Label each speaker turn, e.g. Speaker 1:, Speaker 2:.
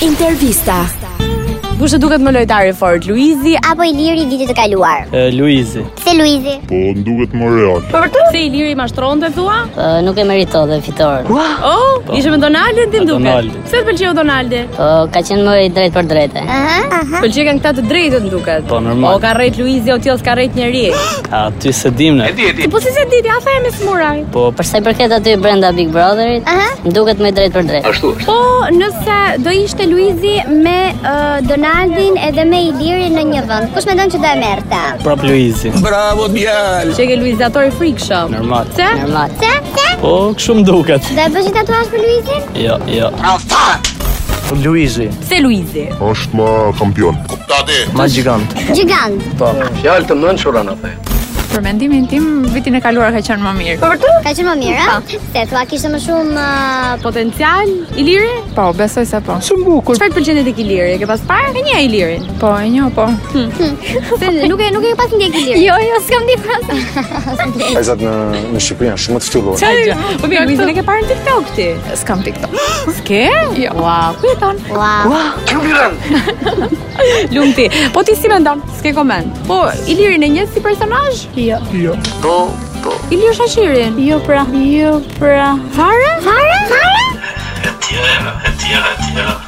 Speaker 1: Intervista.
Speaker 2: Kush e duket më lojtari fort, Luizi?
Speaker 3: apo Iliri vitit të kaluar.
Speaker 4: E, Luizi.
Speaker 3: Pse Luizi?
Speaker 5: Po, më duket më real.
Speaker 2: Po Se Iliri mashtronte thua?
Speaker 6: Po, nuk e merito dhe fitoren.
Speaker 2: Oh,
Speaker 4: Po.
Speaker 2: ishe me Donaldin tim
Speaker 4: Me
Speaker 2: duket.
Speaker 4: Donaldin.
Speaker 2: Pse të pëlqeu Donaldi?
Speaker 6: Po, ka qenë më i drejtë për drejte.
Speaker 3: Aha, aha.
Speaker 2: Pëlqej kanë këta të drejtët më duket.
Speaker 4: Po, normal.
Speaker 2: O ka rrejt Luizi, o tjell s'ka rrejt njeri.
Speaker 4: A ty se dimne.
Speaker 2: Ti po si se diti, a themi smuraj.
Speaker 4: Po,
Speaker 6: Për sa i përket aty brenda Big Brotherit,
Speaker 3: Aha.
Speaker 6: më duket më i drejtë për drejtë.
Speaker 2: Po,
Speaker 3: nëse do ishte Luizi me uh, Donaldin edhe me Ilirin në një vend, kush mendon që do e merrte?
Speaker 4: prap Luizi.
Speaker 2: çike Luizi ato i frikshëm.
Speaker 4: Normal.
Speaker 2: Se?
Speaker 6: Normal.
Speaker 3: Se? Se?
Speaker 4: Po, kështu më duket.
Speaker 3: Do e bësh një tatuazh për Luizin?
Speaker 4: Jo, jo. Luizi,
Speaker 2: Pse Luizi?
Speaker 4: Po.
Speaker 5: Është ma kampion.
Speaker 4: ma gjigant.
Speaker 3: Gjigant.
Speaker 7: Fjalë të mençura na the.
Speaker 8: Për mendimin tim, vitin e kaluar ka qenë më mirë.
Speaker 2: Po
Speaker 3: Ka qenë më mirë, a? Se thua kishte më shumë uh,
Speaker 2: Potencial Iliri?
Speaker 8: Po, besoj se po.
Speaker 4: Shumë bukur.
Speaker 2: Çfarë të pëlqen tek Iliri? E ke pas parë? E njeh Ilirin.
Speaker 8: Po, e njo, po.
Speaker 3: se uh, nuk e nuk e pas ndjek Ilirin. Jo, jo, s'kam ndjek as.
Speaker 9: Vajzat në në Shqipëri janë shumë të ftyllur.
Speaker 2: Çfarë? Po mirë, Luizin e ke parë në TikTok ti.
Speaker 8: S'kam TikTok.
Speaker 2: S'ke?
Speaker 8: Jo.
Speaker 2: Ua, ku jeton?
Speaker 3: Wow.
Speaker 2: Lumti. Po ti si mendon? S'ke koment. Po Ilirin e njeh si personazh?
Speaker 8: Jo.
Speaker 2: Ilir Shaqirin.
Speaker 8: Jo pra. Jo pra.
Speaker 2: Fare?
Speaker 3: Fare? Fare?
Speaker 7: Etjera, etjera, etjera.